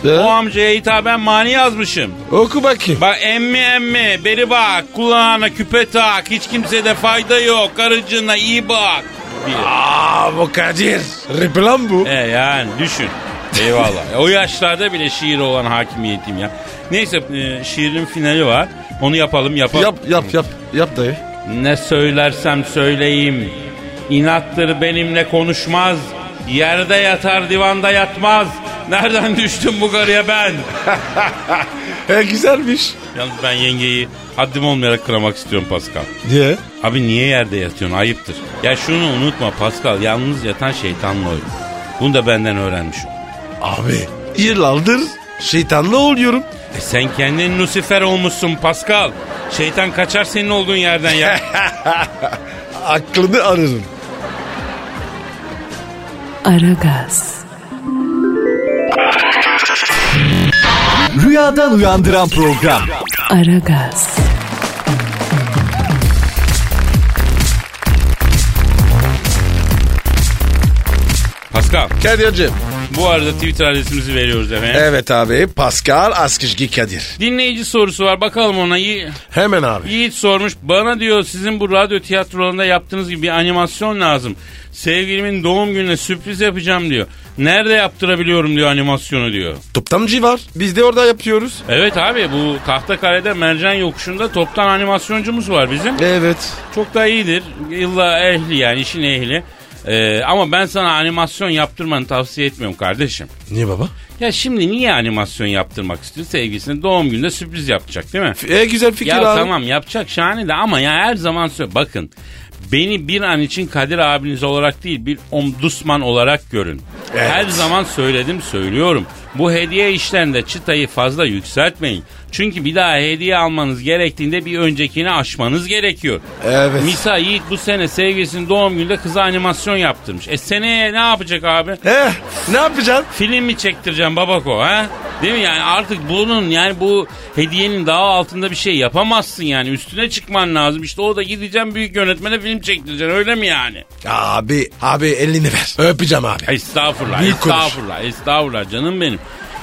[SPEAKER 3] Ne?
[SPEAKER 2] O amcaya hitaben mani yazmışım.
[SPEAKER 3] Oku bakayım.
[SPEAKER 2] Bak emmi emmi beri bak kulağına küpe tak hiç kimsede fayda yok karıcığına iyi bak. diye.
[SPEAKER 3] Aa bu Kadir. Replan bu.
[SPEAKER 2] E yani düşün. Eyvallah. E, o yaşlarda bile şiir olan hakimiyetim ya. Neyse e, şiirin finali var. Onu yapalım yapalım.
[SPEAKER 3] Yap yap yap. Yap dayı.
[SPEAKER 2] Ne söylersem söyleyeyim. İnattır benimle konuşmaz. Yerde yatar divanda yatmaz. Nereden düştüm bu garıya ben?
[SPEAKER 3] E, güzelmiş.
[SPEAKER 2] Yalnız ben yengeyi haddim olmayarak kıramak istiyorum Pascal.
[SPEAKER 3] Niye?
[SPEAKER 2] Abi niye yerde yatıyorsun ayıptır. Ya şunu unutma Pascal yalnız yatan şeytanla oyun. Bunu da benden öğrenmiş ol.
[SPEAKER 3] Abi yıllardır şeytanla oluyorum.
[SPEAKER 2] E sen kendin *laughs* Lucifer olmuşsun Pascal. Şeytan kaçar senin olduğun yerden ya.
[SPEAKER 3] aklını ararım.
[SPEAKER 1] Aragaz,
[SPEAKER 4] Rüyadan uyandıran program.
[SPEAKER 1] Aragaz,
[SPEAKER 2] Pascal
[SPEAKER 3] Kadir'cim.
[SPEAKER 2] bu arada Twitter adresimizi veriyoruz efendim.
[SPEAKER 3] Evet abi Pascal Askışki Kadir.
[SPEAKER 2] Dinleyici sorusu var bakalım ona. Yi-
[SPEAKER 3] Hemen abi.
[SPEAKER 2] Yiğit sormuş bana diyor sizin bu radyo tiyatrolarında yaptığınız gibi bir animasyon lazım. Sevgilimin doğum gününe sürpriz yapacağım diyor. Nerede yaptırabiliyorum diyor animasyonu diyor.
[SPEAKER 3] Toptamcı var. Biz de orada yapıyoruz.
[SPEAKER 2] Evet abi bu Tahtakale'de Mercan Yokuşu'nda toptan animasyoncumuz var bizim.
[SPEAKER 3] Evet.
[SPEAKER 2] Çok da iyidir. Yılla ehli yani işin ehli. Ee, ama ben sana animasyon yaptırmanı tavsiye etmiyorum kardeşim.
[SPEAKER 3] Niye baba?
[SPEAKER 2] Ya şimdi niye animasyon yaptırmak istiyor? Sevgilisine doğum gününde sürpriz yapacak değil mi?
[SPEAKER 3] E güzel fikir
[SPEAKER 2] ya
[SPEAKER 3] abi.
[SPEAKER 2] tamam yapacak şahane de ama ya her zaman söyle. Bakın beni bir an için Kadir abiniz olarak değil bir omdusman olarak görün.
[SPEAKER 3] Evet.
[SPEAKER 2] Her zaman söyledim söylüyorum. Bu hediye işlerinde çıtayı fazla yükseltmeyin. Çünkü bir daha hediye almanız gerektiğinde bir öncekini aşmanız gerekiyor.
[SPEAKER 3] Evet.
[SPEAKER 2] Misa Yiğit bu sene sevgilisinin doğum gününde kıza animasyon yaptırmış. E seneye ne yapacak abi?
[SPEAKER 3] Eh, ne yapacaksın?
[SPEAKER 2] Film mi çektireceğim babako ha? Değil mi yani artık bunun yani bu hediyenin daha altında bir şey yapamazsın yani üstüne çıkman lazım. İşte o da gideceğim büyük yönetmene film çektireceksin öyle mi yani?
[SPEAKER 3] Abi, abi elini ver. Öpeceğim abi.
[SPEAKER 2] Estağfurullah
[SPEAKER 3] Büyük konuş.
[SPEAKER 2] estağfurullah estağfurullah canım benim.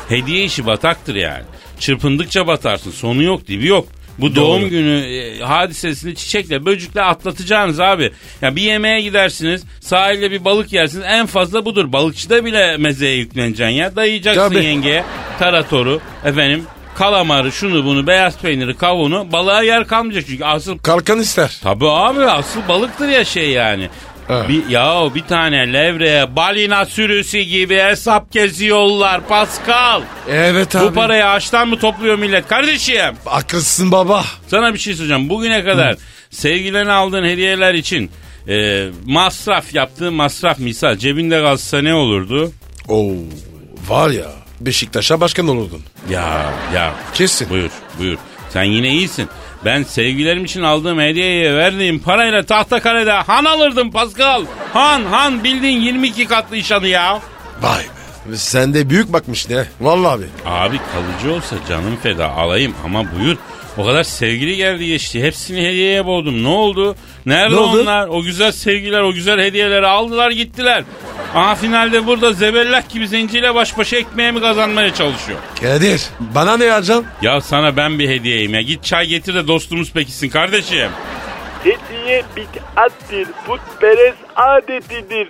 [SPEAKER 2] Hediye işi bataktır yani. Çırpındıkça batarsın sonu yok dibi yok. Bu doğum günü e, hadisesini çiçekle böcükle atlatacaksınız abi. Ya bir yemeğe gidersiniz sahilde bir balık yersiniz en fazla budur. Balıkçıda bile mezeye yükleneceksin ya dayayacaksın
[SPEAKER 3] Tabii.
[SPEAKER 2] yengeye taratoru efendim kalamarı şunu bunu beyaz peyniri kavunu balığa yer kalmayacak çünkü asıl
[SPEAKER 3] Kalkan ister.
[SPEAKER 2] Tabii abi asıl balıktır ya şey yani.
[SPEAKER 3] Evet.
[SPEAKER 2] Bir, ya bir tane levreye balina sürüsü gibi hesap geziyorlar Pascal.
[SPEAKER 3] Evet
[SPEAKER 2] Bu parayı ağaçtan mı topluyor millet kardeşim?
[SPEAKER 3] Haklısın baba.
[SPEAKER 2] Sana bir şey söyleyeceğim. Bugüne kadar sevgilerine aldığın hediyeler için e, masraf yaptığın masraf misal cebinde kalsa ne olurdu?
[SPEAKER 3] Oo, var ya Beşiktaş'a başkan olurdun.
[SPEAKER 2] Ya ya
[SPEAKER 3] Kesin.
[SPEAKER 2] *laughs* buyur buyur sen yine iyisin. Ben sevgilerim için aldığım hediyeye verdiğim parayla Tahtakale'de han alırdım Pascal. Han han bildiğin 22 katlı iş hanı ya.
[SPEAKER 3] Vay be. Sen de büyük bakmış ne? Vallahi abi.
[SPEAKER 2] Abi kalıcı olsa canım feda alayım ama buyur. O kadar sevgili geldi geçti. Hepsini hediyeye boğdum. Ne oldu? Nerede
[SPEAKER 3] Ne oldu?
[SPEAKER 2] onlar? O güzel sevgiler, o güzel hediyeleri aldılar gittiler. Aha finalde burada zebellak gibi zenciyle baş başa ekmeğe mi kazanmaya çalışıyor?
[SPEAKER 3] Kadir bana ne yazacaksın?
[SPEAKER 2] Ya sana ben bir hediyeyim ya. Git çay getir de dostumuz pekişsin kardeşim.
[SPEAKER 5] Hediye bid'attir, putperest adetidir.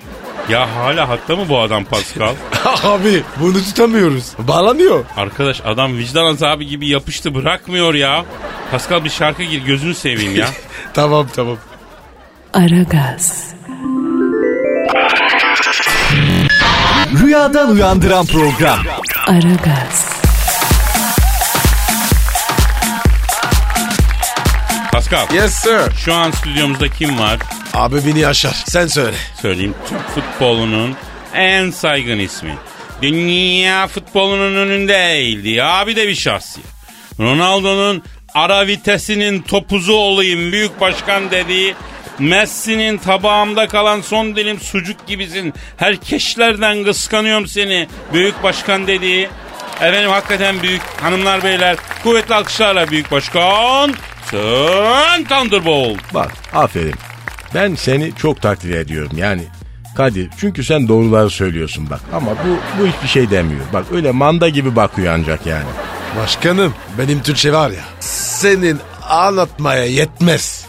[SPEAKER 2] Ya hala hatta mı bu adam Pascal?
[SPEAKER 3] *laughs* abi bunu tutamıyoruz. Bağlamıyor.
[SPEAKER 2] Arkadaş adam vicdan azabı gibi yapıştı bırakmıyor ya. Pascal bir şarkı gir gözünü seveyim ya.
[SPEAKER 3] Tamam tamam.
[SPEAKER 1] Aragaz,
[SPEAKER 4] Rüyadan uyandıran program.
[SPEAKER 1] Aragaz,
[SPEAKER 2] Pascal
[SPEAKER 3] Yes sir.
[SPEAKER 2] şu an stüdyomuzda kim var?
[SPEAKER 3] Abi beni yaşar. Sen söyle.
[SPEAKER 2] Söyleyeyim Türk futbolunun en saygın ismi. Dünya futbolunun önünde eğildi. Abi de bir şahsiyet. Ronaldo'nun ara vitesinin topuzu olayım büyük başkan dediği Messi'nin tabağımda kalan son dilim sucuk gibisin. Herkeşlerden kıskanıyorum seni. Büyük başkan dediği. Efendim hakikaten büyük hanımlar beyler. Kuvvetli alkışlarla büyük başkan. Sen Thunderbolt.
[SPEAKER 8] Bak aferin. Ben seni çok takdir ediyorum yani. Kadir çünkü sen doğruları söylüyorsun bak. Ama bu, bu hiçbir şey demiyor. Bak öyle manda gibi bakıyor ancak yani.
[SPEAKER 3] Başkanım benim Türkçe var ya. Senin anlatmaya yetmez.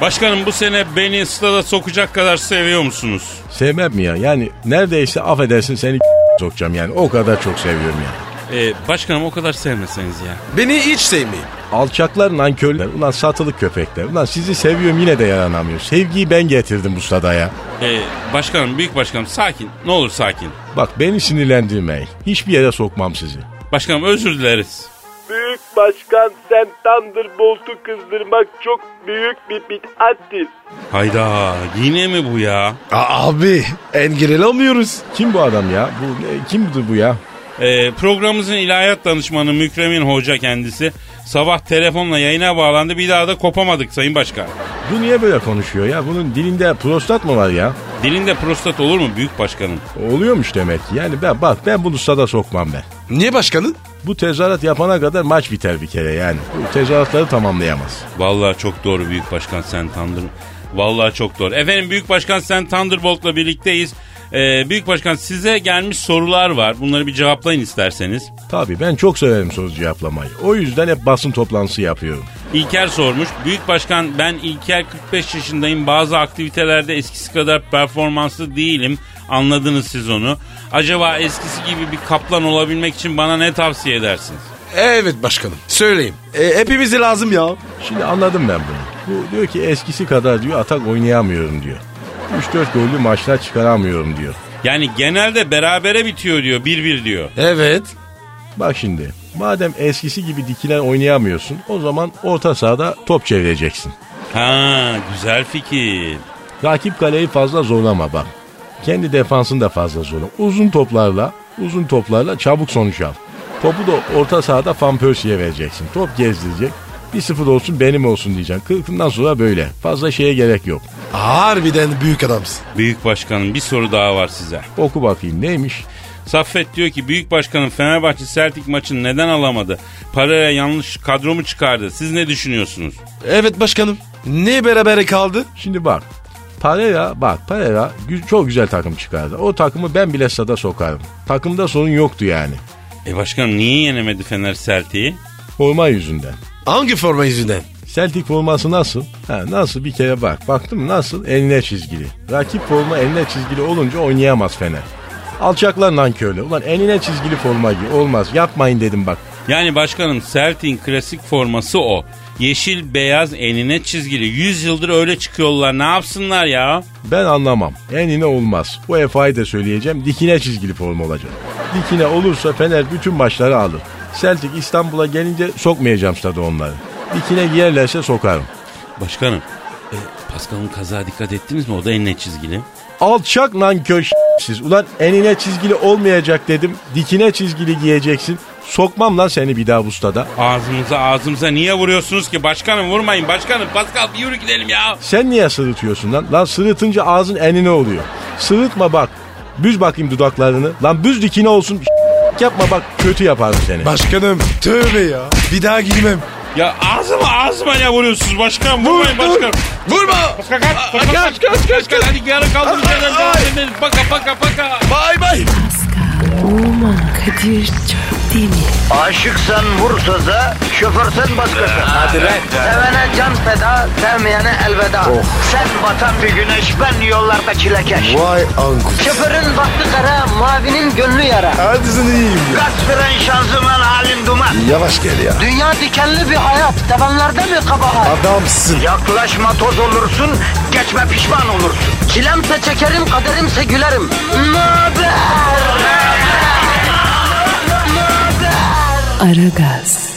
[SPEAKER 2] Başkanım bu sene beni stada sokacak kadar seviyor musunuz?
[SPEAKER 8] Sevmem mi ya? Yani neredeyse affedersin seni *laughs* sokacağım yani. O kadar çok seviyorum yani.
[SPEAKER 2] Ee, başkanım o kadar sevmeseniz ya.
[SPEAKER 3] Beni hiç sevmeyin.
[SPEAKER 8] Alçaklar nankörler. Ulan satılık köpekler. Ulan sizi seviyorum yine de yaranamıyor. Sevgiyi ben getirdim bu sadaya.
[SPEAKER 2] Ee, başkanım büyük başkanım sakin ne olur sakin.
[SPEAKER 8] Bak beni sinirlendirmeyin. Hiçbir yere sokmam sizi.
[SPEAKER 2] Başkanım özür dileriz.
[SPEAKER 5] Büyük başkan sen Thunderbolt'u kızdırmak çok büyük bir bid'attir.
[SPEAKER 2] Hayda yine mi bu ya?
[SPEAKER 3] Aa, abi engel olamıyoruz.
[SPEAKER 8] Kim bu adam ya? Bu ne- kimdi bu ya?
[SPEAKER 2] Ee, Ee, programımızın ilahiyat danışmanı Mükremin Hoca kendisi sabah telefonla yayına bağlandı bir daha da kopamadık Sayın Başkan.
[SPEAKER 8] Bu niye böyle konuşuyor ya? Bunun dilinde prostat mı var ya?
[SPEAKER 2] Dilinde prostat olur mu Büyük Başkanım?
[SPEAKER 8] Oluyormuş demek ki. Yani ben bak ben bunu sada sokmam ben.
[SPEAKER 3] Niye başkanın?
[SPEAKER 8] Bu tezahürat yapana kadar maç biter bir kere yani. Bu tezahüratları tamamlayamaz.
[SPEAKER 2] Vallahi çok doğru Büyük Başkan sen Tandır. Vallahi çok doğru. Efendim Büyük Başkan sen Thunderbolt'la birlikteyiz. Ee, Büyük Başkan size gelmiş sorular var. Bunları bir cevaplayın isterseniz.
[SPEAKER 8] Tabii ben çok severim soru cevaplamayı. O yüzden hep basın toplantısı yapıyorum.
[SPEAKER 2] İlker sormuş. Büyük Başkan ben İlker 45 yaşındayım. Bazı aktivitelerde eskisi kadar performanslı değilim. Anladınız siz onu. Acaba eskisi gibi bir kaplan olabilmek için bana ne tavsiye edersiniz?
[SPEAKER 3] Evet başkanım. Söyleyeyim. E, hepimize lazım ya.
[SPEAKER 8] Şimdi anladım ben bunu. Bu diyor ki eskisi kadar diyor atak oynayamıyorum diyor. 3-4 gollü maçlar çıkaramıyorum diyor.
[SPEAKER 2] Yani genelde berabere bitiyor diyor. 1-1 diyor.
[SPEAKER 3] Evet.
[SPEAKER 8] Bak şimdi madem eskisi gibi dikilen oynayamıyorsun o zaman orta sahada top çevireceksin.
[SPEAKER 2] Ha güzel fikir.
[SPEAKER 8] Rakip kaleyi fazla zorlama bak. Kendi defansını da fazla zorla. Uzun toplarla, uzun toplarla çabuk sonuç al. Topu da orta sahada Van Persie'ye vereceksin. Top gezdirecek. 1-0 olsun benim olsun diyeceksin. Kırkından sonra böyle. Fazla şeye gerek yok.
[SPEAKER 3] Harbiden büyük adamsın.
[SPEAKER 2] Büyük Başkanım bir soru daha var size.
[SPEAKER 8] Oku bakayım neymiş?
[SPEAKER 2] Saffet diyor ki Büyük Başkanım Fenerbahçe Celtic maçını neden alamadı? Paraya yanlış kadro mu çıkardı? Siz ne düşünüyorsunuz?
[SPEAKER 3] Evet başkanım. Niye beraber kaldı?
[SPEAKER 8] Şimdi bak. Pereira bak Pereira gü- çok güzel takım çıkardı. O takımı ben bile sada sokarım. Takımda sorun yoktu yani.
[SPEAKER 2] E başkanım niye yenemedi Fener Celtic'i?
[SPEAKER 8] Forma yüzünden.
[SPEAKER 3] Hangi forma yüzünden?
[SPEAKER 8] Celtic forması nasıl? Ha, nasıl bir kere bak. Baktım nasıl? Eline çizgili. Rakip forma eline çizgili olunca oynayamaz Fener. Alçaklar nankörle. Ulan eline çizgili forma giy. Olmaz. Yapmayın dedim bak.
[SPEAKER 2] Yani başkanım Celtic'in klasik forması o. Yeşil beyaz enine çizgili. 100 yıldır öyle çıkıyorlar ne yapsınlar ya?
[SPEAKER 8] Ben anlamam. Enine olmaz. Bu UEFA'yı da söyleyeceğim. Dikine çizgili forma olacak. Dikine olursa Fener bütün maçları alır. Celtic İstanbul'a gelince sokmayacağım stada onları. Dikine giyerlerse sokarım.
[SPEAKER 2] Başkanım e, Pascal'ın kaza dikkat ettiniz mi? O da enine çizgili.
[SPEAKER 8] Alçak nankör siz. Ulan enine çizgili olmayacak dedim. Dikine çizgili giyeceksin. Sokmam lan seni bir daha bu stada.
[SPEAKER 2] Ağzımıza ağzımıza niye vuruyorsunuz ki? Başkanım vurmayın başkanım. Pascal bir yürü gidelim ya.
[SPEAKER 8] Sen niye sırıtıyorsun lan? Lan sırıtınca ağzın enine oluyor. Sırıtma bak. Büz bakayım dudaklarını. Lan büz dikine olsun. Yapma bak kötü yaparım seni.
[SPEAKER 3] Başkanım tövbe ya. Bir daha giymem.
[SPEAKER 2] Ya ağzıma ağzıma ne vuruyorsunuz başkanım? Vurmayın başkanım.
[SPEAKER 3] Vurma.
[SPEAKER 2] Kaç kaç kaç kaç kaç kaç hadi yarın kaldım şeyden devam ederiz. Baka baka baka.
[SPEAKER 3] Bay bay.
[SPEAKER 1] Pascal, Oman, Kadir çok değil mi?
[SPEAKER 9] Aşıksan vursa da, şoförsen başkasın. Hadi lan. Oh. Sevene can feda, sevmeyene elveda. Sen batan bir güneş, ben yollarda çilekeş.
[SPEAKER 3] Vay anku.
[SPEAKER 9] Şoförün baktı kara, mavinin gönlü yara.
[SPEAKER 3] Hadi sen iyiyim ya.
[SPEAKER 9] Kasperen şanzıman halin duman.
[SPEAKER 3] Yavaş gel ya.
[SPEAKER 9] Dünya dikenli bir hayat, sevenlerde mi kabahar?
[SPEAKER 3] Adamsın.
[SPEAKER 9] Yaklaşma toz olursun, geçme pişman olursun. Çilemse çekerim, kaderimse gülerim. Möber!
[SPEAKER 1] Aragaz.